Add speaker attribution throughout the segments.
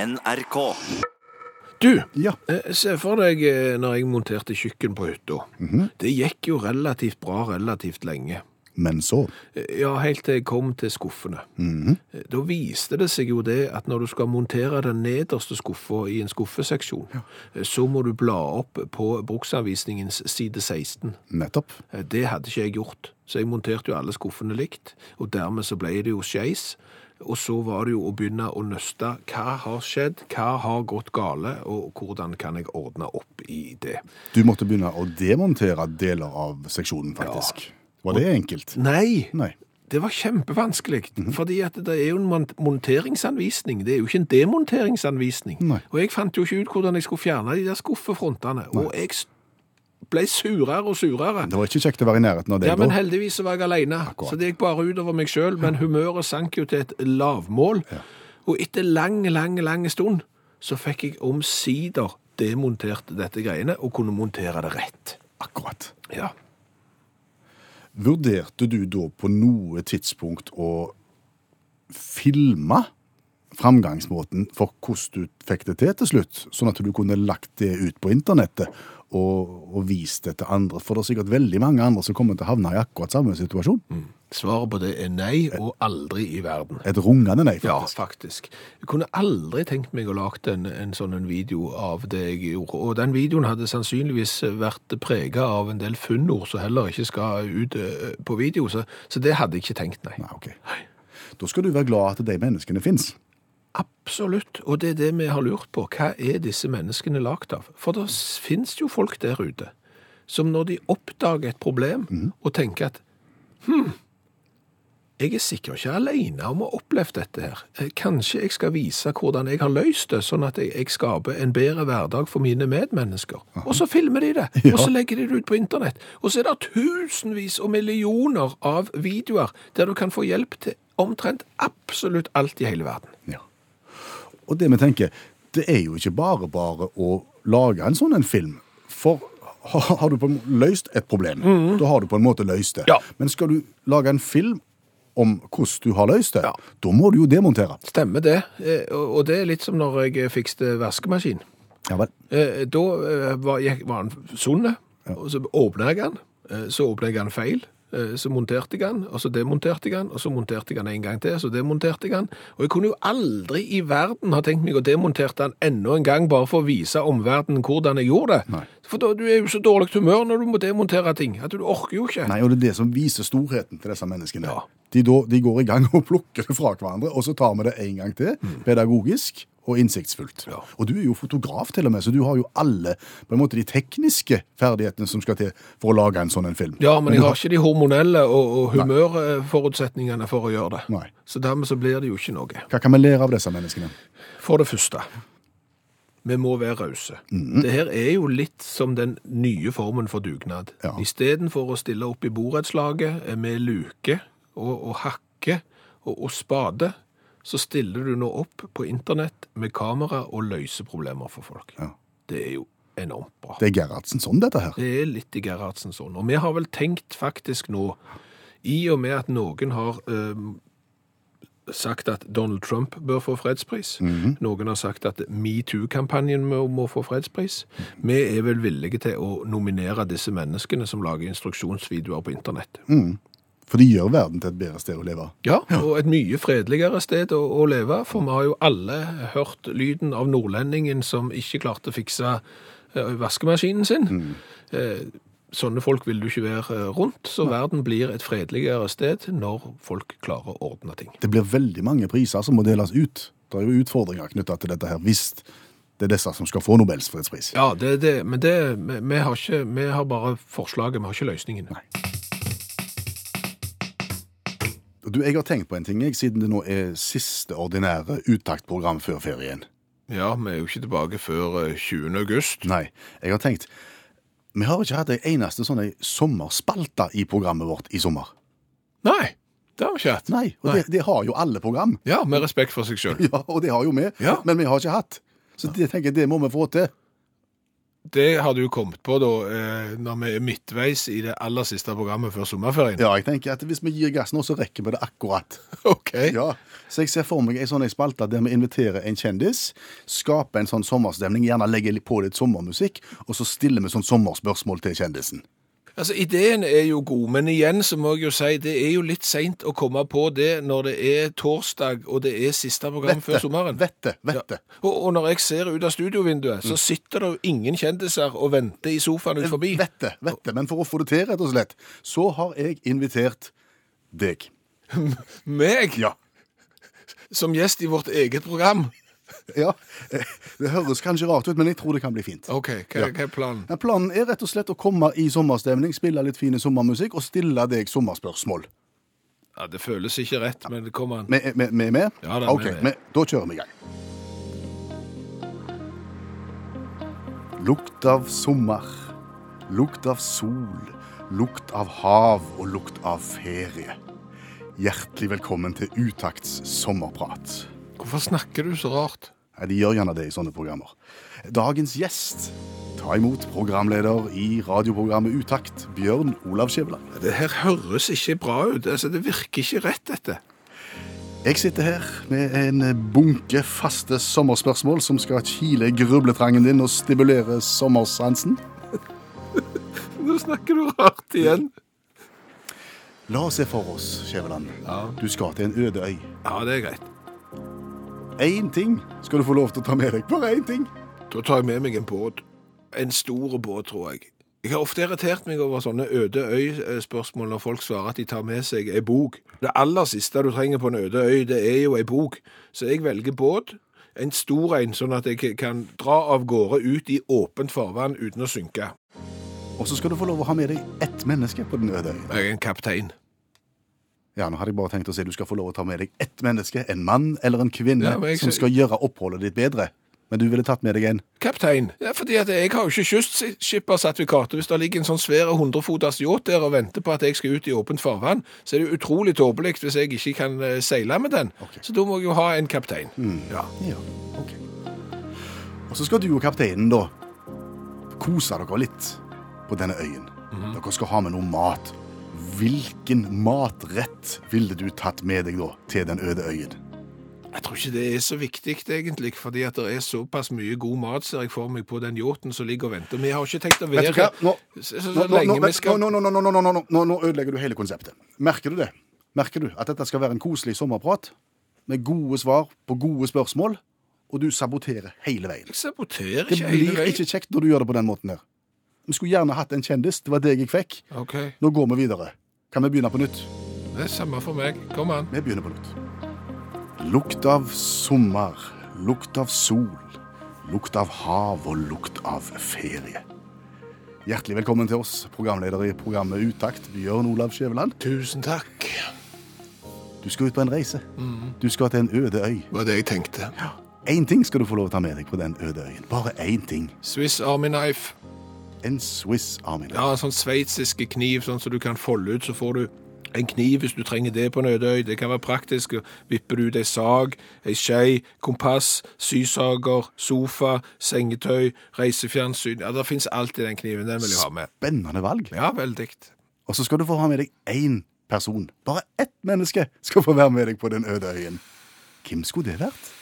Speaker 1: NRK.
Speaker 2: Du,
Speaker 3: Ja.
Speaker 2: eh, se for deg eh, når jeg monterte kjøkken på hytta. Det gikk jo relativt bra relativt lenge.
Speaker 3: Men så
Speaker 2: Eh, Ja, helt til jeg kom til skuffene. Eh, Da viste det seg jo det at når du skal montere den nederste skuffa i en skuffeseksjon, eh, så må du bla opp på bruksanvisningens side 16.
Speaker 3: Nettopp.
Speaker 2: Eh, Det hadde ikke jeg gjort, så jeg monterte jo alle skuffene likt, og dermed så ble det jo skeis. Og så var det jo å begynne å nøste hva har skjedd, hva har gått gale, og hvordan kan jeg ordne opp i det.
Speaker 3: Du måtte begynne å demontere deler av seksjonen, faktisk. Var det enkelt?
Speaker 2: Nei,
Speaker 3: Nei.
Speaker 2: det var kjempevanskelig, fordi at det er jo en mon- monteringsanvisning, det er jo ikke en demonteringsanvisning.
Speaker 3: Nei.
Speaker 2: Og jeg fant jo ikke ut hvordan jeg skulle fjerne de der skuffefrontene, og jeg s- ble surere og surere.
Speaker 3: Det var ikke kjekt å være i nærheten av det.
Speaker 2: Ja, men
Speaker 3: da.
Speaker 2: heldigvis så var jeg alene, så det gikk bare utover meg selv, men humøret sank jo til et lavmål. Og etter lang, lang, lang stund, så fikk jeg omsider demontert dette greiene, og kunne montere det rett.
Speaker 3: Akkurat.
Speaker 2: Ja.
Speaker 3: Vurderte du da på noe tidspunkt å filme framgangsmåten for hvordan du fikk det til til slutt, sånn at du kunne lagt det ut på internettet og, og vist det til andre? For det er sikkert veldig mange andre som kommer til å havne i akkurat samme situasjon.
Speaker 2: Mm. Svaret på det er nei, og aldri i verden.
Speaker 3: Et rungende nei,
Speaker 2: Ja,
Speaker 3: faktisk.
Speaker 2: faktisk. Jeg kunne aldri tenkt meg å lage en, en sånn en video av det jeg gjorde. Og den videoen hadde sannsynligvis vært preget av en del funnord som heller ikke skal ut eh, på video, så, så det hadde jeg ikke tenkt, nei.
Speaker 3: Nei, ok. Da skal du være glad at de menneskene fins.
Speaker 2: Absolutt, og det er det vi har lurt på. Hva er disse menneskene lagt av? For det finnes jo folk der ute som når de oppdager et problem og tenker at hm, jeg er sikkert ikke alene om å ha opplevd dette her. Eh, Kanskje jeg skal vise hvordan jeg har løst det, sånn at jeg, jeg skaper en bedre hverdag for mine medmennesker. Og så filmer de det, og så legger de det ut på internett. Og så er det tusenvis og millioner av videoer der du kan få hjelp til omtrent absolutt alt i hele verden.
Speaker 3: Ja. Og det vi tenker, det er jo ikke bare bare å lage en sånn en film. For har har du på en måte løst et problem, da har du på en måte løst det.
Speaker 2: Ja.
Speaker 3: Men skal du lage en film om hvordan du har løst det,
Speaker 2: Ja.
Speaker 3: da må du jo demontere.
Speaker 2: Stemmer det. Eh, Og og det er litt som når jeg fikste vaskemaskin.
Speaker 3: Ja vel.
Speaker 2: Eh, Da eh, var, jeg, var den sunn, og så åpna jeg den. Eh, Så åpna jeg den feil. Eh, Så monterte jeg den, og så demonterte jeg den, og så monterte jeg den en gang til, så demonterte jeg den. Og jeg kunne jo aldri i verden ha tenkt meg å demontere den enda en gang, bare for å vise omverdenen hvordan jeg gjorde det.
Speaker 3: Nei.
Speaker 2: For da, du er jo så dårlig humør når du må demontere ting, at du orker jo ikke.
Speaker 3: Nei, og det er det som viser storheten til disse menneskene.
Speaker 2: Ja.
Speaker 3: De, da, de går i gang og plukker det fra hverandre, og så tar vi det en gang til, pedagogisk og innsiktsfullt.
Speaker 2: Mm. Ja.
Speaker 3: Og du er jo fotograf til og med, så du har jo alle på en måte de tekniske ferdighetene som skal til for å lage en sånn en film.
Speaker 2: Ja, men jeg
Speaker 3: du
Speaker 2: har ikke de hormonelle og, og humørforutsetningene for å gjøre det.
Speaker 3: Nei.
Speaker 2: Så dermed så blir det jo ikke noe.
Speaker 3: Hva kan vi lære av disse menneskene?
Speaker 2: For det første, vi må være rause.
Speaker 3: Mhm.
Speaker 2: Det her er jo litt som den nye formen for dugnad.
Speaker 3: Ja.
Speaker 2: I stedet for å stille opp i borettslaget med luke og, og hakke og, og spade, så stiller du nå opp på internett med kamera og løser problemer for folk.
Speaker 3: Ja.
Speaker 2: Det er jo enormt bra.
Speaker 3: Det er Gerhardsen sånn, dette her.
Speaker 2: Det er litt i Gerhardsen sånn. Og vi har vel tenkt faktisk nå, i og med at noen har øhm, sagt at Donald Trump bør få fredspris, noen har sagt at MeToo-kampanjen må, må få fredspris, vi er vel villige til å nominere disse menneskene som lager instruksjonsvideoer på internett.
Speaker 3: For de gjør verden til et bedre sted å leve.
Speaker 2: Ja, og et mye fredeligere sted å, å leve, for vi har jo alle hørt lyden av nordlendingen som ikke klarte å fikse eh, vaskemaskinen sin. Eh, sånne folk vil du ikke være eh, rundt, så verden blir et fredeligere sted når folk klarer å ordne ting.
Speaker 3: Det blir veldig mange priser som må deles ut. Det er jo utfordringer knytta til dette her, hvis det er disse som skal få Nobels fredspris.
Speaker 2: Ja, det, det, men det, vi, vi, har ikke, vi har bare forslaget, vi har ikke løsningen.
Speaker 3: Du, jeg har tenkt på en ting, jeg, siden det nå er siste ordinære uttaktprogram før ferien.
Speaker 2: Ja, vi er jo ikke tilbake før eh, 20. august.
Speaker 3: Nei, jeg har tenkt Vi har ikke hatt ei eneste sånn ei sommerspalte i programmet vårt i sommer.
Speaker 2: Nei, det har vi ikke hatt.
Speaker 3: Nei, og Det, det har jo alle program.
Speaker 2: Ja, med respekt for seg selv.
Speaker 3: Ja, Og det har jo vi,
Speaker 2: Ja.
Speaker 3: men vi har ikke hatt. Så det tenker jeg, det må vi få til.
Speaker 2: Det har du kommet på da, eh, når vi er midtveis i det aller siste programmet før sommerferien.
Speaker 3: Ja, jeg tenker at hvis vi gir gass nå, så rekker vi det akkurat.
Speaker 2: Ok.
Speaker 3: Ja, Så jeg ser for meg ei sånn ei spalte der vi inviterer en kjendis, skaper en sånn sommerstemning, gjerne legger litt på litt sommermusikk, og så stiller vi sånn sommerspørsmål til kjendisen.
Speaker 2: Altså, ideen er jo god, men igjen så må jeg jo si, det er jo litt sent å komme på det når det er torsdag, og det er siste program før sommeren.
Speaker 3: Vette, Mm. vette.
Speaker 2: Og, og når jeg ser ut av studiovinduet, så sitter det jo ingen kjendiser og venter i sofaen ut forbi.
Speaker 3: Vette, vette. Men for å få det til, rett og slett, så har jeg invitert deg.
Speaker 2: Meg,
Speaker 3: Ja.
Speaker 2: som gjest i vårt eget program.
Speaker 3: ja. Eh, Det høres kanskje rart ut, men jeg tror det kan bli fint.
Speaker 2: Ok, hva,
Speaker 3: Ja.
Speaker 2: hva er planen?
Speaker 3: Ja, planen er rett og slett å komme i sommerstemning, spille litt fine sommermusikk og stille deg sommerspørsmål.
Speaker 2: Ja, det føles ikke rett, men det kommer an.
Speaker 3: Vi er med, med, med?
Speaker 2: Ja, det er
Speaker 3: Ok,
Speaker 2: med, med.
Speaker 3: men Da kjører vi i gang. Lukt av sommer, lukt av sol, lukt av hav og lukt av ferie. Hjertelig velkommen til Utakts sommerprat.
Speaker 2: Hvorfor snakker du så rart?
Speaker 3: Nei, De gjør gjerne det i sånne programmer. Dagens gjest, ta imot programleder i radioprogrammet Utakt, Bjørn Olav Skjæveland.
Speaker 2: Det her høres ikke bra ut. Altså, det virker ikke rett, dette.
Speaker 3: Jeg sitter her med en bunke faste sommerspørsmål som skal kile grubletrangen din og stimulere sommersansen.
Speaker 2: Nå snakker du rart igjen.
Speaker 3: La oss se for oss, Skjæveland.
Speaker 2: Ja.
Speaker 3: Du skal til en øde øy.
Speaker 2: Ja, det er greit.
Speaker 3: Én ting skal du få lov til å ta med deg. Bare én ting.
Speaker 2: Da tar jeg med meg en båt. En stor båt, tror jeg. Jeg har ofte irritert meg over sånne øde øy-spørsmål når folk svarer at de tar med seg ei bok. Det aller siste du trenger på en øde øy, det er jo ei bok. Så jeg velger båt. En stor en, sånn at jeg kan dra av gårde ut i åpent farvann uten å synke.
Speaker 3: Og så skal du få lov å ha med deg ett menneske på den øde øyen.
Speaker 2: Jeg er en kaptein.
Speaker 3: Ja, nå hadde jeg bare tenkt å si du skal få lov å ta med deg ett menneske, en mann eller en kvinne,
Speaker 2: Ja, men jeg
Speaker 3: som
Speaker 2: sy-
Speaker 3: skal gjøre oppholdet ditt bedre. Men du ville tatt med deg en.
Speaker 2: Kaptein? Ja, fordi at jeg har jo ikke kystskippersertifikat. Hvis det ligger en sånn svær 100-foters yacht der og venter på at jeg skal ut i åpent farvann, så er det jo utrolig tåpelig hvis jeg ikke kan eh, seile med den.
Speaker 3: Ok. Mm.
Speaker 2: Så da må jeg jo ha en kaptein. Ja.
Speaker 3: Ja, ok. Og så skal du og kapteinen da kose dere litt på denne øyen.
Speaker 2: Mhm.
Speaker 3: Dere skal ha med noe mat. Hvilken matrett ville du tatt med deg da til den øde øyen?
Speaker 2: Jeg tror ikke det er så viktig, egentlig, fordi at det er såpass mye god mat, ser jeg for meg, på den yachten som ligger og venter. Vi har ikke tenkt å være
Speaker 3: Vet du hva? Nå,
Speaker 2: Så, så,
Speaker 3: nå,
Speaker 2: så
Speaker 3: nå,
Speaker 2: lenge
Speaker 3: nå,
Speaker 2: vi skal
Speaker 3: nå, nå, nå, nå, nå, nå, nå, nå, nå, nå ødelegger du hele konseptet. Merker du det? Merker du at dette skal være en koselig sommerprat med gode svar på gode spørsmål, og du saboterer hele veien?
Speaker 2: Jeg saboterer
Speaker 3: Det
Speaker 2: ikke hele
Speaker 3: blir
Speaker 2: veien.
Speaker 3: ikke kjekt når du gjør det på den måten her. Vi skulle gjerne hatt en kjendis. Det var deg jeg fikk.
Speaker 2: OK.
Speaker 3: Nå går vi videre. Kan vi begynne på nytt?
Speaker 2: Det er samme for meg. Kom an.
Speaker 3: Vi begynner på nytt. Lukt av sommer, lukt av sol, lukt av hav og lukt av ferie. Hjertelig velkommen til oss, programleder i programmet Utakt, Bjørn Olav Skjæveland.
Speaker 2: Tusen takk.
Speaker 3: Du skal ut på en reise.
Speaker 2: Mhm.
Speaker 3: Du skal til en øde øy.
Speaker 2: var det jeg tenkte.
Speaker 3: Én ting skal du få lov til å ta med deg på den øde øyen. Bare én ting.
Speaker 2: Swiss Army Knife.
Speaker 3: En Swiss Army. Knife.
Speaker 2: Ja, en sånn sveitsiske kniv, sånn som du kan folde ut, så får du en kniv hvis du trenger det på en øde øy. Det kan være praktisk. Vipper du ut ei sag, ei skei, kompass, sysager, sofa, sengetøy, reisefjernsyn. Ja, det fins alt i den kniven. Den vil jeg ha med.
Speaker 3: Spennende valg.
Speaker 2: Ja, veldig.
Speaker 3: Og så skal du få ha med deg én person. Bare ett menneske skal få være med deg på den øde øyen. Hvem skulle det vært?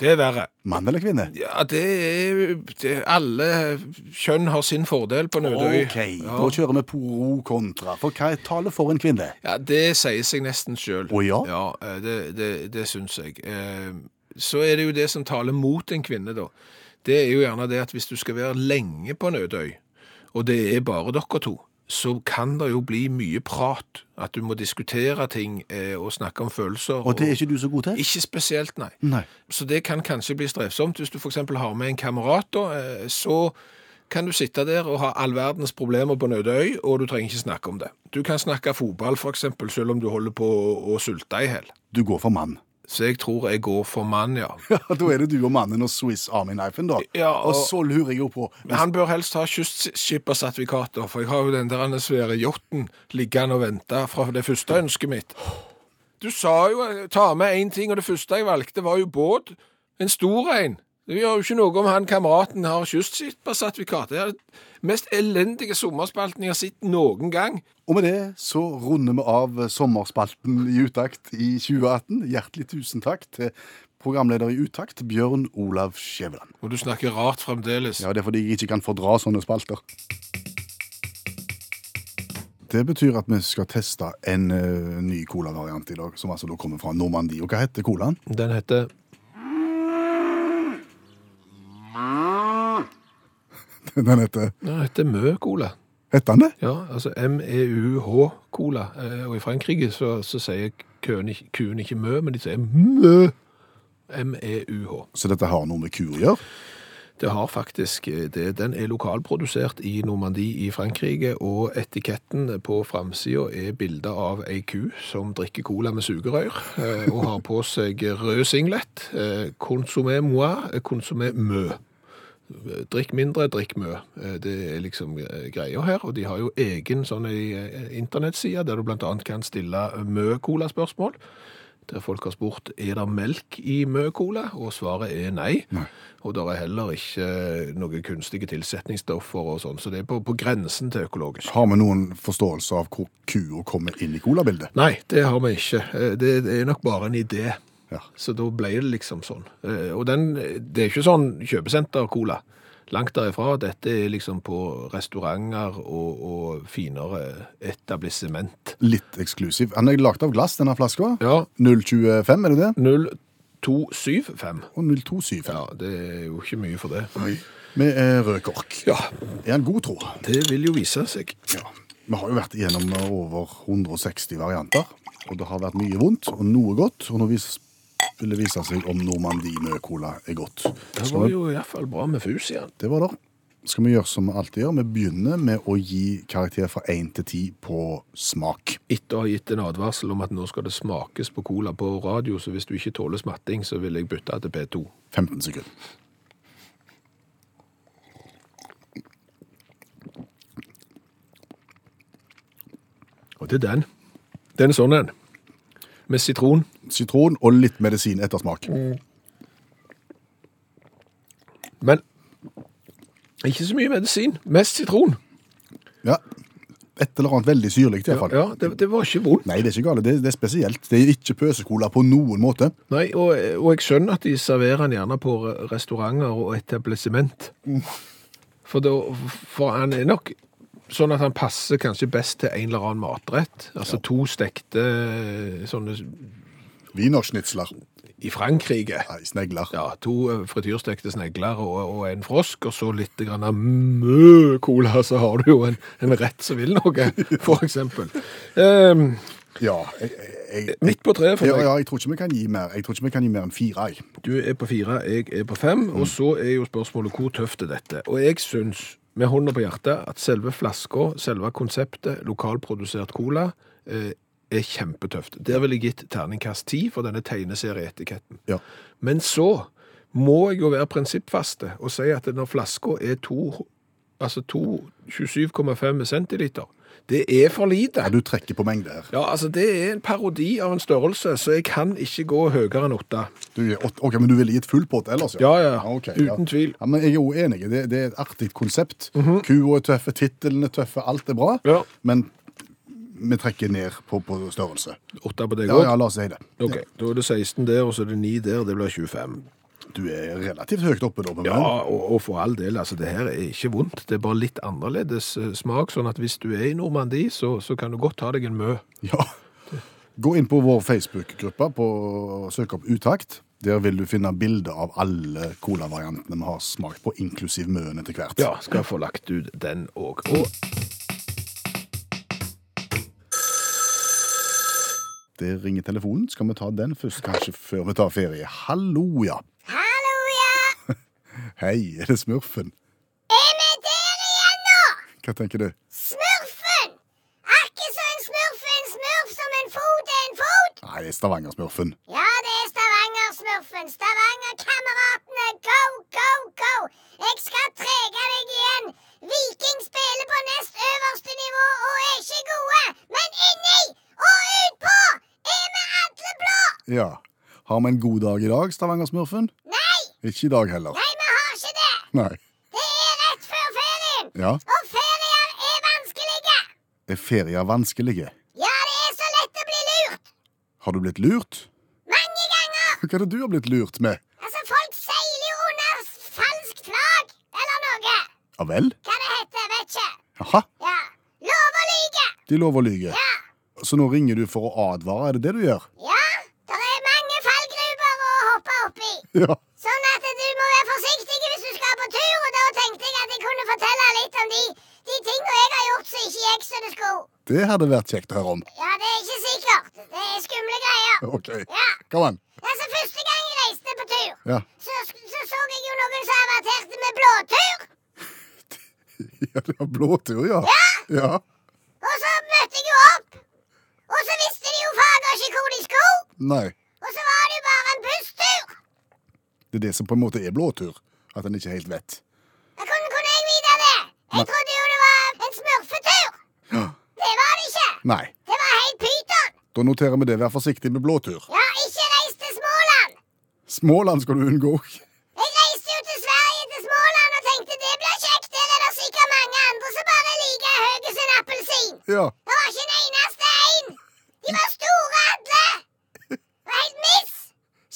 Speaker 2: Det er verre.
Speaker 3: Mann eller kvinne?
Speaker 2: Ja, det er det, Alle kjønn har sin fordel på en øde øy.
Speaker 3: Ok, da kjører vi pro kontra. For hva er tallet for en kvinne?
Speaker 2: Ja, det sier seg nesten sjøl.
Speaker 3: Å ja?
Speaker 2: Ja, eh, det, det, det syns jeg. Eh, Så er det jo det som taler mot en kvinne, da. Det er jo gjerne det at hvis du skal være lenge på en øde øy, og det er bare dere to, så kan det jo bli mye prat. At du må diskutere ting eh, og snakke om følelser.
Speaker 3: Og det er ikke du så god til?
Speaker 2: Ikke spesielt, nei.
Speaker 3: Nei.
Speaker 2: Så det kan kanskje bli strevsomt. Hvis du f.eks. har med en kamerat, da, eh, så kan du sitte der og ha all verdens problemer på en øde øy, og du trenger ikke snakke om det. Du kan snakke fotball, f.eks., selv om du holder på å- å sulte i hjel.
Speaker 3: Du går for mann.
Speaker 2: Så jeg tror jeg går for mann, ja.
Speaker 3: Ja, Da er det du og mannen og Swiss Army Knifen, da.
Speaker 2: Ja,
Speaker 3: og...
Speaker 2: og-
Speaker 3: så lurer jeg jo på
Speaker 2: Men han bør helst ha kystskippersertifikat, da, for jeg har jo den der andre svære yachten liggende og vente fra det første ønsket mitt. Du sa jo eh, ta med én ting, og det første jeg valgte, var jo båt. En stor en. Det gjør jo ikke noe om han kameraten har kysset sitt på sertifikatet. Det er den mest elendige sommerspalten jeg har sett noen gang.
Speaker 3: Og med det så runder vi av sommerspalten i Utakt i 2018. Hjertelig tusen takk til programleder i Utakt, Bjørn Olav Skjæveland.
Speaker 2: Og du snakker rart fremdeles.
Speaker 3: Ja, det er fordi jeg ikke kan fordra sånne spalter. Det betyr at vi skal teste en eh, ny colavariant i dag, som altså da kommer fra Normandie. Og hva heter colaen?
Speaker 2: Den heter
Speaker 3: Den heter
Speaker 2: Den heter Mø-cola.
Speaker 3: Heter den det?
Speaker 2: Ja, altså M-E-U-H-cola. Eh, Og i Frankrike så, så sier køen, ikke- kuen ikke mø, men de sier mø. E M-E-U-H.
Speaker 3: Så dette har noe med ku å gjøre?
Speaker 2: Det har faktisk eh, det. Den er lokalprodusert i Normandie i Frankrike, og etiketten på framsida er bilde av ei ku som drikker cola med sugerør, eh, og har på seg rød singlet. eh, Consommé moi, eh, consommé mø. Drikk mindre, drikk mø. Eh, Det er liksom eh, greia her. Og de har jo egen sånn ei eh, internettside der du bl.a. kan stille mø-cola-spørsmål. Der folk har spurt er det melk i mø-cola, og svaret er nei.
Speaker 3: Nei.
Speaker 2: Og det er heller ikke eh, noe kunstige tilsetningsstoffer og sånn, så det er på, på grensen til økologisk.
Speaker 3: Har vi noen forståelse av hvor kua kommer inn i colabildet?
Speaker 2: Nei, det har vi ikke. Eh, Det det er nok bare en idé.
Speaker 3: Ja.
Speaker 2: Så da ble det liksom sånn. Eh, Og den, det er ikke sånn kjøpesenter-cola. Langt derifra. Dette er liksom på restauranter og, og finere etablissement.
Speaker 3: Litt eksklusiv. Den er lagd av glass, denne flaska.
Speaker 2: Ja,
Speaker 3: 025, er det det?
Speaker 2: 0275.
Speaker 3: Og 0275.
Speaker 2: Ja, det er jo ikke mye for det.
Speaker 3: Med eh, rød kork.
Speaker 2: Ja,
Speaker 3: Er den god, tro?
Speaker 2: det vil jo vise seg.
Speaker 3: Ja. Vi har jo vært igjennom over 160 varianter, og det har vært mye vondt og noe godt. Og nå vis vil det vise seg om Normandie med cola er godt.
Speaker 2: Det
Speaker 3: Skal
Speaker 2: var
Speaker 3: vi,
Speaker 2: jo iallfall bra med fus igjen.
Speaker 3: det var det. Skal vi gjøre som vi alltid gjør? Vi begynner med å gi karakter fra 1 til 10 på smak.
Speaker 2: Etter å ha gitt en advarsel om at nå skal det smakes på cola på radio, så hvis du ikke tåler smatting, så vil jeg bytte til P2.
Speaker 3: 15 sekunder.
Speaker 2: Og det er den. Den er sånn en. Med sitron.
Speaker 3: Sitron og litt medisin etter smak.
Speaker 2: Mm. Men ikke så mye medisin. Mest sitron.
Speaker 3: Ja. Et eller annet veldig syrlig, i hvert fall.
Speaker 2: Ja, det, det var ikke vondt.
Speaker 3: Nei, det er ikke galt. Det, det er spesielt. Det er ikke pøsekola på noen måte.
Speaker 2: Nei, og, og jeg skjønner at de serverer den gjerne på re- restauranter og etablissement. For, da, for han er nok sånn at han passer kanskje best til en eller annen matrett. Altså to stekte eh, sånne
Speaker 3: Wienerschnitzler.
Speaker 2: i Frankrike.
Speaker 3: Nei, snegler.
Speaker 2: Ja, to eh, frityrstekte snegler og, og en frosk, og så litt grann av mø-cola, så har du jo en, en rett som vil noe, for eksempel. Ehm,
Speaker 3: Ja, jeg, jeg, jeg,
Speaker 2: midt på treet for
Speaker 3: ja,
Speaker 2: meg.
Speaker 3: ja, jeg tror ikke vi kan gi mer. Jeg tror ikke vi kan gi mer enn fire. Jeg.
Speaker 2: Du er på fire, jeg er på fem,
Speaker 3: Mm.
Speaker 2: og så er jo spørsmålet hvor tøft er dette? Og jeg syns, med hånda på hjertet, at selve flaska, selve konseptet, lokalprodusert cola, eh, er kjempetøft. Der ville jeg gitt terningkast ti for denne tegneserieetiketten.
Speaker 3: Ja.
Speaker 2: Men så må jeg jo være prinsippfaste og si at når flaska er to, altså to 27,5 centiliter, det er for lite.
Speaker 3: Ja, du trekker på mengde her.
Speaker 2: Ja, altså det er en parodi av en størrelse, så jeg kan ikke gå høyere enn åtte.
Speaker 3: Du, gir åtte- ok, Men du ville gitt full pott ellers?
Speaker 2: Ja, ja,
Speaker 3: ok,
Speaker 2: uten tvil. Mhm.
Speaker 3: Ja, men Jeg er jo enig. Det, det er et artig konsept. Kua er tøffe, tittelen er tøffe, alt er bra.
Speaker 2: Ja.
Speaker 3: Men vi trekker ned på, på størrelse.
Speaker 2: Åtte på deg
Speaker 3: Ja,
Speaker 2: òg?
Speaker 3: ja, la oss si det.
Speaker 2: Ok, da er det 16 der, og så er det 9 der, det blir 25.
Speaker 3: Du er relativt høyt oppe, da. men-
Speaker 2: Ja, og, og for all del, altså det her er ikke vondt, det er bare litt annerledes eh, smak, sånn at hvis du er i Normandie, så, så kan du godt ta deg en mø.
Speaker 3: Ja. Gå inn på vår Facebook-gruppe på Søk opp utakt. Der vil du finne bilder av alle colavariantene vi har smakt på, inklusiv møen etter hvert.
Speaker 2: Ja, skal få lagt ut den òg. Og
Speaker 3: Det ringer telefonen. Skal vi ta den først, kanskje, før vi tar ferie? Hallo, ja.
Speaker 1: Hallo, ja!
Speaker 3: Hei, er det Smurfen?
Speaker 1: Er vi der igjen nå?
Speaker 3: Hva tenker du?
Speaker 1: Smurfen! Akkurat som en smurf er en smurf, som en fot er en fot.
Speaker 3: Nei, det er Stavanger-Smurfen.
Speaker 1: Ja, det er Stavanger-smurfen. Stavanger-kameratene, go, go, go! Jeg skal trege deg igjen. Viking spiller på nest øverste nivå og er ikke gode. Men inni og utpå er vi alle blå!
Speaker 3: Ja. Har vi en god dag i dag, Stavanger-Smurfen?
Speaker 1: Nei,
Speaker 3: Ikke i dag heller.
Speaker 1: Nei, vi har ikke det.
Speaker 3: Nei.
Speaker 1: Det er rett før ferien.
Speaker 3: Ja.
Speaker 1: Og ferier er vanskelige.
Speaker 3: Er ferier vanskelige?
Speaker 1: Ja, det er så lett å bli lurt.
Speaker 3: Har du blitt lurt?
Speaker 1: Mange ganger.
Speaker 3: Hva er det du har blitt lurt med?
Speaker 1: Altså, folk seiler jo under falskt flagg eller noe.
Speaker 3: Ja vel?
Speaker 1: Hva det heter, vet ikke.
Speaker 3: Jaha,
Speaker 1: Ja. Lov å lyge.
Speaker 3: de lover å lyge.
Speaker 1: Ja.
Speaker 3: Så nå ringer du for å advare, er det det du gjør?
Speaker 1: Ja, det er mange fallgruber å hoppe oppi.
Speaker 3: Ja.
Speaker 1: Sånn at du må være forsiktig hvis du skal på tur, og da tenkte jeg at jeg kunne fortelle litt om de, de tingene jeg har gjort som ikke gikk som det skulle.
Speaker 3: Det hadde vært kjekt å høre om.
Speaker 1: Ja, det er ikke sikkert. Det er skumle greier.
Speaker 3: OK.
Speaker 1: Ja,
Speaker 3: Kom an.
Speaker 1: altså første gang jeg reiste på tur,
Speaker 3: Ja.
Speaker 1: så så, så jeg jo noen som averterte med blåtur.
Speaker 3: Ja, det var blåtur, ja. Ja.
Speaker 1: Og så møtte jeg jo opp, og så visste de jo fader ikke hvor de skulle,
Speaker 3: Nei.
Speaker 1: og så var det jo bare en busstur.
Speaker 3: Det er det som på en måte er blåtur. At en ikke helt vet.
Speaker 1: Hvordan kunne jeg vite det? Jeg
Speaker 3: Nei.
Speaker 1: trodde jo det var en smurfetur.
Speaker 3: Ja.
Speaker 1: Det var det ikke.
Speaker 3: Nei.
Speaker 1: Det var helt pyton.
Speaker 3: Da noterer vi det. Vær forsiktig med blåtur.
Speaker 1: Ja, ikke reis til Småland.
Speaker 3: Småland skal du unngå.
Speaker 1: Jeg reiste jo til Sverige, til Småland, og tenkte det blir kjekt. Der er det sikkert mange andre som bare er like høye som en appelsin.
Speaker 3: Ja.
Speaker 1: Det var ikke en eneste en. De var store alle. Det var helt miss.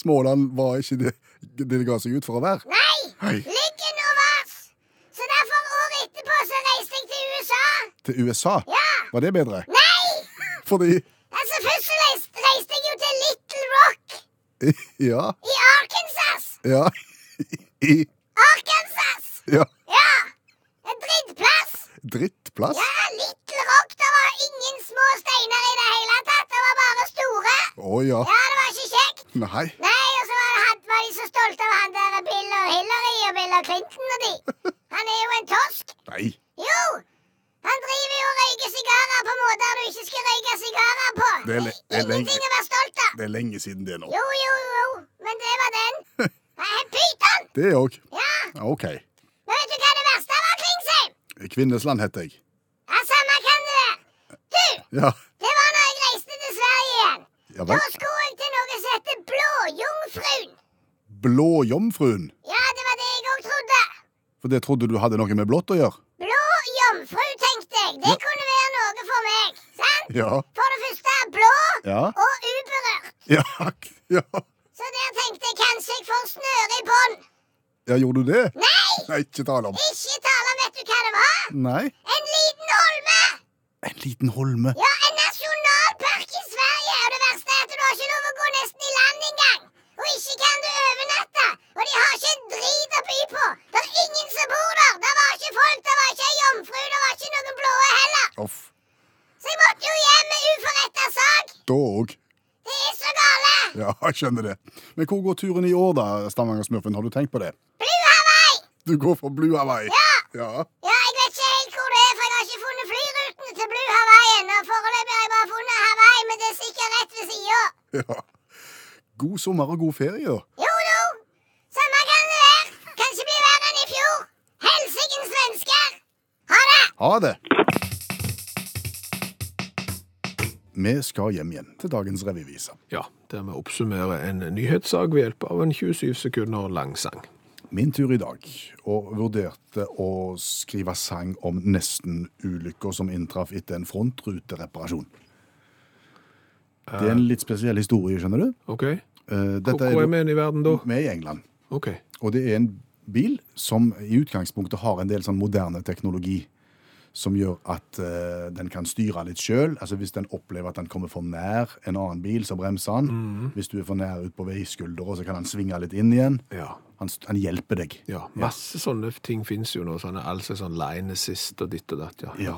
Speaker 3: Småland var ikke det det, det ga seg ut for å være.
Speaker 1: Nei.
Speaker 3: Hei.
Speaker 1: Lyggen og vars. Så derfor, året etterpå, så reiste jeg til USA.
Speaker 3: Til USA.
Speaker 1: Ja.
Speaker 3: Var det bedre?
Speaker 1: Nei!
Speaker 3: Fordi
Speaker 1: Altså, først så reiste, reiste jeg jo til Little Rock
Speaker 3: Ja.
Speaker 1: i Arkansas.
Speaker 3: Ja. I
Speaker 1: Arkansas!
Speaker 3: Ja.
Speaker 1: Ja! En drittplass.
Speaker 3: Drittplass.
Speaker 1: Ja, Little Rock, det var ingen små steiner i det hele tatt. Det var bare store.
Speaker 3: Å ja.
Speaker 1: Ja, det var ikke kjekt.
Speaker 3: Nei.
Speaker 1: Nei, og så var, det, han- var de så stolte av han der Bill og Hillary og Bill og Clinton og de. Han er jo en tosk.
Speaker 3: Nei.
Speaker 1: Jo! Han driver jo og røyker sigarer på måter du ikke skal røyke sigarer på.
Speaker 3: Det er le- det er lenge-
Speaker 1: Ingenting å være stolt av.
Speaker 3: Det er lenge siden det nå.
Speaker 1: Jo, jo, jo, men det var den. Nei, Pyton!
Speaker 3: Det òg.
Speaker 1: Ja,
Speaker 3: Ja, OK.
Speaker 1: men vet du hva det verste var, Klingsheim?
Speaker 3: Kvinnesland heter jeg.
Speaker 1: Ja, samme kan det være. Du,
Speaker 3: Ja.
Speaker 1: det var når jeg reiste til Sverige igjen.
Speaker 3: Ja
Speaker 1: Da
Speaker 3: vel.
Speaker 1: skulle jeg til noe som heter Blåjungfruen.
Speaker 3: Blåjomfruen.
Speaker 1: Ja, det var det jeg òg trodde.
Speaker 3: For det trodde du hadde noe med blått å gjøre?
Speaker 1: Blå jomfru, tenkte jeg. Det kunne være noe for meg. Sant?
Speaker 3: Ja.
Speaker 1: For det første blå
Speaker 3: Ja.
Speaker 1: og uberørt.
Speaker 3: Ja. Ja,
Speaker 1: Så der tenkte jeg kanskje jeg får snøre i bånd.
Speaker 3: ja gjorde du det?
Speaker 1: Nei!
Speaker 3: Nei, ikke tale om.
Speaker 1: Ikke tale om vet du hva det var?
Speaker 3: Nei.
Speaker 1: En liten holme!
Speaker 3: En liten holme.
Speaker 1: Ja, en nasjonalpark i Sverige, og det verste er at du har ikke lov å gå nesten i land engang. Og ikke kan du overnatte, og de har ikke en drit å by på. Det er ingen som bor der. Det var ikke folk, det var ikke ei jomfru, det var ikke noen blåe heller.
Speaker 3: Uff.
Speaker 1: Så jeg måtte jo hjem med uforretta sak.
Speaker 3: Da òg.
Speaker 1: Det er så gale.
Speaker 3: Ja, jeg skjønner det. Men hvor går turen i år, da, Stavanger-smurfen? Har du tenkt på det?
Speaker 1: Blue Hawaii.
Speaker 3: Du går for Blue Hawaii.
Speaker 1: Ja.
Speaker 3: Ja.
Speaker 1: Ja, jeg vet ikke helt hvor det er, for jeg har ikke funnet flyrutene til Blue Hawaii ennå. Foreløpig har jeg bare funnet Hawaii, men det er sikkert rett ved sida.
Speaker 3: ja. God sommer og god ferie, da.
Speaker 1: Jo, jo. Samme kan det være. Kanskje bli verre enn i fjor. Helsiken svensker. Ha det.
Speaker 3: Ha det. Vi skal hjem igjen til dagens revyvise.
Speaker 2: Ja, der vi oppsummerer en nyhetssak ved hjelp av en 27 sekunder lang sang.
Speaker 3: Min tur i dag, og vurderte å skrive sang om nesten ulykker som inntraff etter en frontrutereparasjon. Det er en litt spesiell historie, skjønner du.
Speaker 2: OK?
Speaker 3: Eh,
Speaker 2: Hvor,
Speaker 3: Dette
Speaker 2: hvor er
Speaker 3: er
Speaker 2: vi hen i verden da?
Speaker 3: med i England,
Speaker 2: OK.
Speaker 3: og det er en bil som i utgangspunktet har en del sånn moderne teknologi som gjør at eh, den kan styre litt sjøl. Altså hvis den opplever at den kommer for nær en annen bil, så bremser han.
Speaker 2: Mm.
Speaker 3: Hvis du er for nær ut på veiskuldra, så kan han svinge litt inn igjen.
Speaker 2: Ja.
Speaker 3: Han, st- han hjelper deg.
Speaker 2: ja. Masse sånne ting fins jo nå. Sånne, altså sånn line assist og ditt og datt. Ja.
Speaker 3: Ja.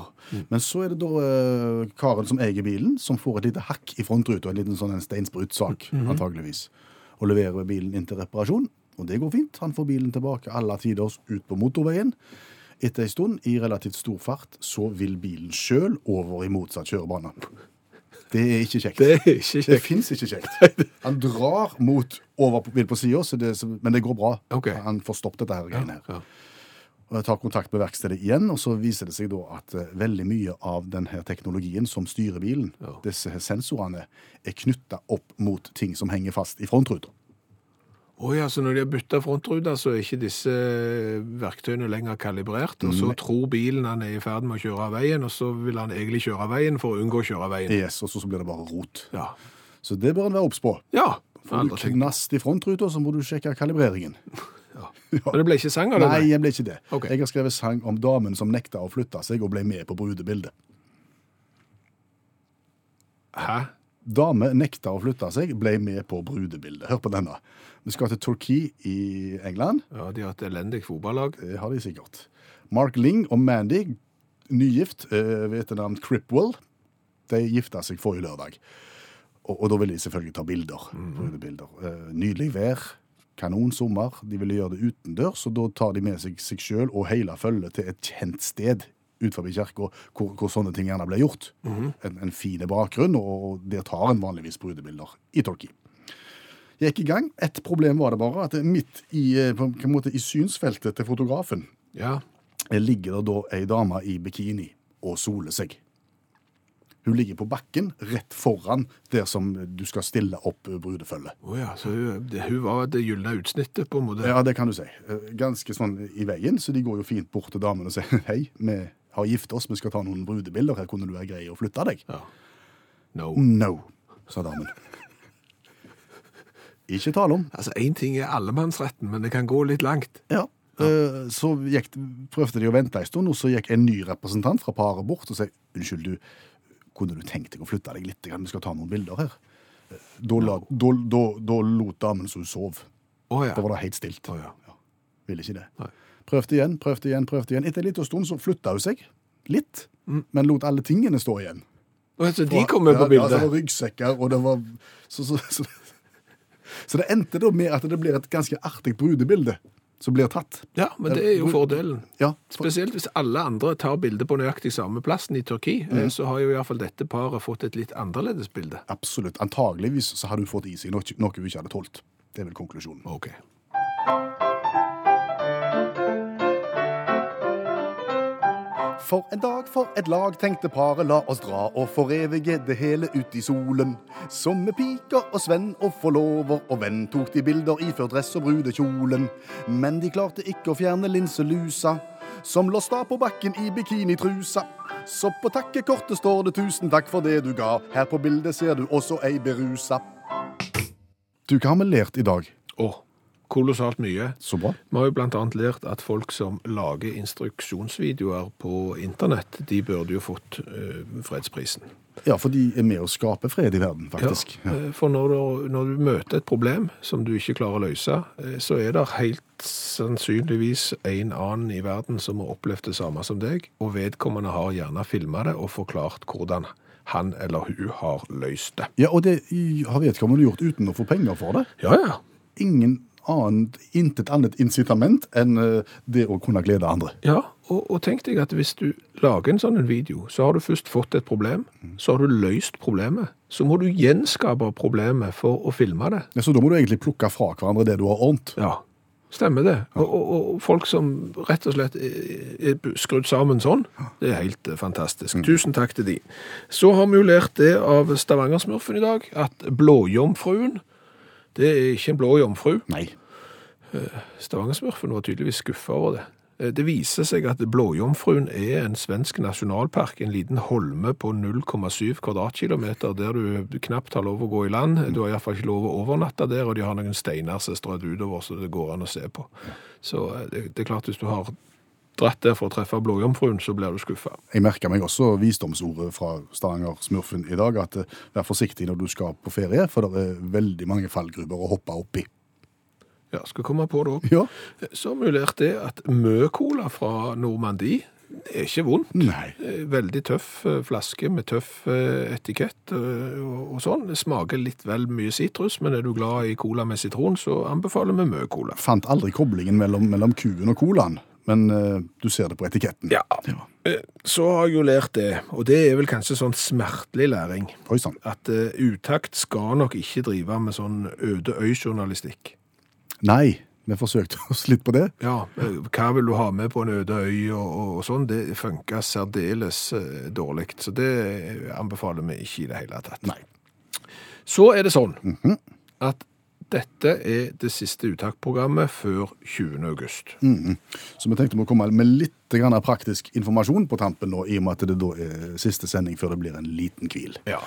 Speaker 3: Men så er det da eh, karen som eier bilen, som får et lite hakk i frontruta. En liten sånn en steinsprutsak,
Speaker 2: Mhm.
Speaker 3: antageligvis. Og leverer bilen inn til reparasjon. Og det går fint. Han får bilen tilbake alle tiders ut på motorveien. Etter ei stund, i relativt stor fart, så vil bilen sjøl over i motsatt kjørebane. Det er ikke kjekt.
Speaker 2: Det er ikke
Speaker 3: Det
Speaker 2: kjekt.
Speaker 3: fins ikke kekt. Han drar mot over på bil på sida, men det går bra.
Speaker 2: Ok.
Speaker 3: Han får stoppet dette her greiene her.
Speaker 2: Ja.
Speaker 3: Og jeg tar kontakt med verkstedet igjen, og så viser det seg da at eh, veldig mye av denne teknologien som styrer bilen,
Speaker 2: Ja.
Speaker 3: disse her sensorene, er knytta opp mot ting som henger fast i frontruta.
Speaker 2: Å ja, så når de har bytta frontruter, så er ikke disse verktøyene lenger kalibrert. Og så tror bilen han er i ferd med å kjøre av veien, og så vil han egentlig kjøre av veien for å unngå å kjøre av veien.
Speaker 3: Yes, og så blir det bare rot.
Speaker 2: Ja.
Speaker 3: Så det bør en være obs på.
Speaker 2: ja.
Speaker 3: Får du
Speaker 2: Andre ting.
Speaker 3: knast i frontruta, så må du sjekke kalibreringen.
Speaker 2: Men det ble ikke sang av det?
Speaker 3: Nei, jeg ble ikke det.
Speaker 2: Ok.
Speaker 3: Jeg har skrevet sang om damen som nekta å flytte seg og ble med på brudebildet.
Speaker 2: Hæ?
Speaker 3: Dame nekta å flytte seg, ble med på brudebildet. Hør på denne. Vi skal til Torquay i England.
Speaker 2: Ja, de har et elendig fotballag.
Speaker 3: Det eh, har de sikkert. Mark Ling og Mandy, nygift eh, ved etternavn Cripwell, de gifta seg forrige lørdag. Og, og da ville de selvfølgelig ta bilder. brudebilder. Eh, Nydelig vær, kanon sommer. De ville gjøre det utendørs, og da tar de med seg seg sjøl og hele følget til et kjent sted ut forbi kirka, hvor, hvor sånne ting gjerne blir gjort. En, en fin bakgrunn, og, og der tar en vanligvis brudebilder i Torquay gikk i gang. Et problem var det bare at midt i, eh, på en måte, i synsfeltet til fotografen
Speaker 2: Ja.
Speaker 3: eh, ligger det da ei dame i bikini og soler seg. Hun ligger på bakken rett foran der som du skal stille opp eh, brudefølget.
Speaker 2: Å ja, så hun, det, hun var det gylne utsnittet, på en måte.
Speaker 3: Ja, det kan du si. Eh, Ganske sånn i veien, så de går jo fint bort til damene og sier hei, vi har giftet oss, vi skal ta noen brudebilder, her kunne du være grei å flytte deg. «Oh,
Speaker 2: Ja. No.
Speaker 3: No, sa damen. Ikke tale om.
Speaker 2: Altså, én ting er allemannsretten, men det kan gå litt langt.
Speaker 3: Ja. Eh, Så gikk, prøvde de å vente en stund, og så gikk en ny representant fra paret bort og sa unnskyld, du, kunne du tenkt deg å flytte deg litt? grann? Vi skal ta noen bilder her. Eh, Da, la, da, da, da lot damen så hun sov.
Speaker 2: Å ja.
Speaker 3: Da var det helt stilt.
Speaker 2: Å, ja.
Speaker 3: Ville ikke det.
Speaker 2: Nei.
Speaker 3: Prøvde igjen, prøvde igjen, prøvde igjen. Etter en liten stund så flytta hun seg litt, men lot alle tingene stå igjen.
Speaker 2: Å, så Mm. de kom med
Speaker 3: Ja,
Speaker 2: på bildet?
Speaker 3: Ja, det var ryggsekker, og det var så, så, så, så det endte da med at det blir et ganske artig brudebilde som blir tatt.
Speaker 2: Ja, men det er jo
Speaker 3: Ja,
Speaker 2: fordelen.
Speaker 3: Ja, for-
Speaker 2: Spesielt hvis alle andre tar bilde på nøyaktig samme plassen i Turki, eh, så har jo iallfall dette paret fått et litt annerledes bilde.
Speaker 3: Absolutt. Antageligvis så har du fått i seg noe, noe hun ikke hadde tålt. Det er vel konklusjonen.
Speaker 2: Ok.
Speaker 3: For en dag, for et lag, tenkte paret, la oss dra og forevige det hele ut i solen. Som med piker og Sven og forlover og venn tok de bilder iført dress og brudekjolen. Men de klarte ikke å fjerne linselusa, som lå sta på bakken i bikinitrusa. Så på takkekortet står det 'tusen takk for det du ga'. Her på bildet ser du også ei berusa. Du, hva har vi lært i dag?
Speaker 2: Å, kolossalt mye.
Speaker 3: Så bra.
Speaker 2: Vi har jo blant annet lært at folk som lager instruksjonsvideoer på internett, de burde jo fått eh, fredsprisen.
Speaker 3: Ja, for de er med å skape fred i verden, faktisk. Ja.
Speaker 2: Eh, For når du, når du møter et problem som du ikke klarer å løse, eh, så er det helt sannsynligvis en annen i verden som har opplevd det samme som deg, og vedkommende har gjerne filma det og forklart hvordan han eller hun har løst det.
Speaker 3: Ja, og det i- har vedkommende gjort uten å få penger for det.
Speaker 2: Ja, ja.
Speaker 3: Ingen annet, intet annet incitament enn eh, det å kunne glede andre.
Speaker 2: Ja, og, og tenk deg at hvis du lager en sånn en video, så har du først fått et problem, så har du løst problemet, så må du gjenskape problemet for å filme det.
Speaker 3: Ja, så da må du egentlig plukke fra hverandre det du har ordnet.
Speaker 2: Ja, stemmer det. Og, og, og folk som rett og slett er er skrudd sammen sånn, det er helt eh, fantastisk. Tusen takk til de. Så har vi jo lært det av Stavangersmurfen i dag, at blåjomfruen, det er ikke en blå jomfru.
Speaker 3: Nei.
Speaker 2: Stavangersmurfen var tydeligvis skuffa over det. Eh, Det viser seg at Blåjomfruen er en svensk nasjonalpark, en liten holme på 0,7 kvadratkilometer der du knapt har lov å gå i land. Du har iallfall ikke lov å overnatte der, og de har noen steiner som er strødd utover, så det går an å se på. Så eh, det, det er klart, hvis du har dratt der for å treffe Blåjomfruen, så blir du skuffa.
Speaker 3: Jeg merker meg også visdomsordet fra Stavanger-smurfen i dag, at eh, vær forsiktig når du skal på ferie, for det er veldig mange fallgruber å hoppe opp i.
Speaker 2: Ja, skal komme på det òg.
Speaker 3: Ja.
Speaker 2: Så mulert det at Mø-cola fra Normandie det er ikke vondt.
Speaker 3: Nei.
Speaker 2: Eh, Veldig tøff eh, flaske med tøff eh, etikett eh, og og sånn. Det smaker litt vel mye sitrus, men er du glad i cola med sitron, så anbefaler vi Mø-cola.
Speaker 3: Fant aldri koblingen mellom, mellom kuen og colaen, men eh, du ser det på etiketten.
Speaker 2: Ja. Eh, Så har jeg jo lært det, og det er vel kanskje sånn smertelig læring,
Speaker 3: Oi sann.
Speaker 2: at eh, utakt skal nok ikke drive med sånn øde øy-journalistikk.
Speaker 3: Nei, vi forsøkte oss litt på det.
Speaker 2: Ja, eh, hva vil du ha med på en øde øy og, og, og sånn, det funker særdeles eh, dårlig, så det anbefaler vi ikke i det hele tatt.
Speaker 3: Nei.
Speaker 2: Så er det sånn at Dette er det siste uttaksprogrammet før 20. august.
Speaker 3: Så vi tenkte vi å komme med litt grann av praktisk informasjon på tampen nå, i og med at det da er siste sending før det blir en liten hvil.
Speaker 2: Ja.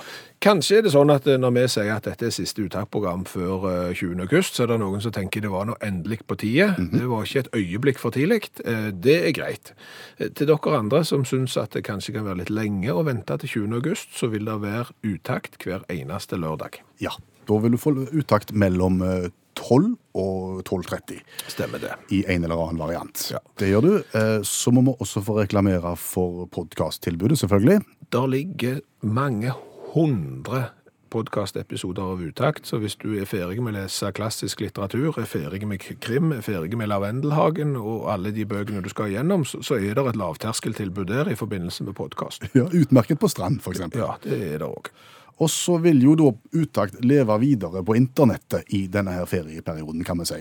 Speaker 2: Kanskje er det sånn at eh, når vi sier at dette er siste uttaksprogram før eh, 20. august, så er det noen som tenker det var nå endelig på tide. Det var ikke et øyeblikk for tidlig. Eh, Det er greit. Eh, Til dere andre som syns at det kanskje kan være litt lenge å vente til 20. august, så vil det være utakt hver eneste lørdag.
Speaker 3: Ja, da vil du få uttakt mellom eh, 12 og 12.30
Speaker 2: Stemmer det.
Speaker 3: i en eller annen variant.
Speaker 2: Ja.
Speaker 3: Det gjør du. Eh, Så må vi også få reklamere for podkasttilbudet, selvfølgelig.
Speaker 2: Der ligger mange hundre podkastepisoder av Utakt, så hvis du er ferdig med å lese klassisk litteratur, er ferdig med krim, er ferdig med Lavendelhagen og alle de bøkene du skal igjennom, så, så er det et lavterskeltilbud der i forbindelse med podkast.
Speaker 3: Ja, utmerket på strand, f.eks.
Speaker 2: Ja, det er det òg.
Speaker 3: Og så vil jo da Utakt leve videre på internettet i denne her ferieperioden, kan vi si.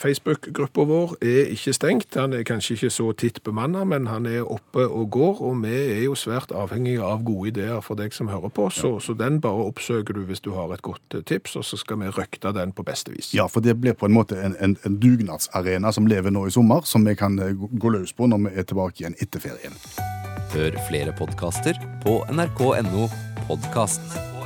Speaker 2: Facebook-gruppa vår er ikke stengt. Han er kanskje ikke så titt bemanna, men han er oppe og går. Og vi er jo svært avhengige av gode ideer for deg som hører på, så, så den bare oppsøker du hvis du har et godt eh, tips, og så skal vi røkte den på beste vis.
Speaker 3: Ja, for det blir på en måte en, en, en dugnadsarena som lever nå i sommer, som vi kan eh, gå- gå løs på når vi er tilbake igjen etter ferien.
Speaker 4: Hør flere podkaster på nrk.no podkast.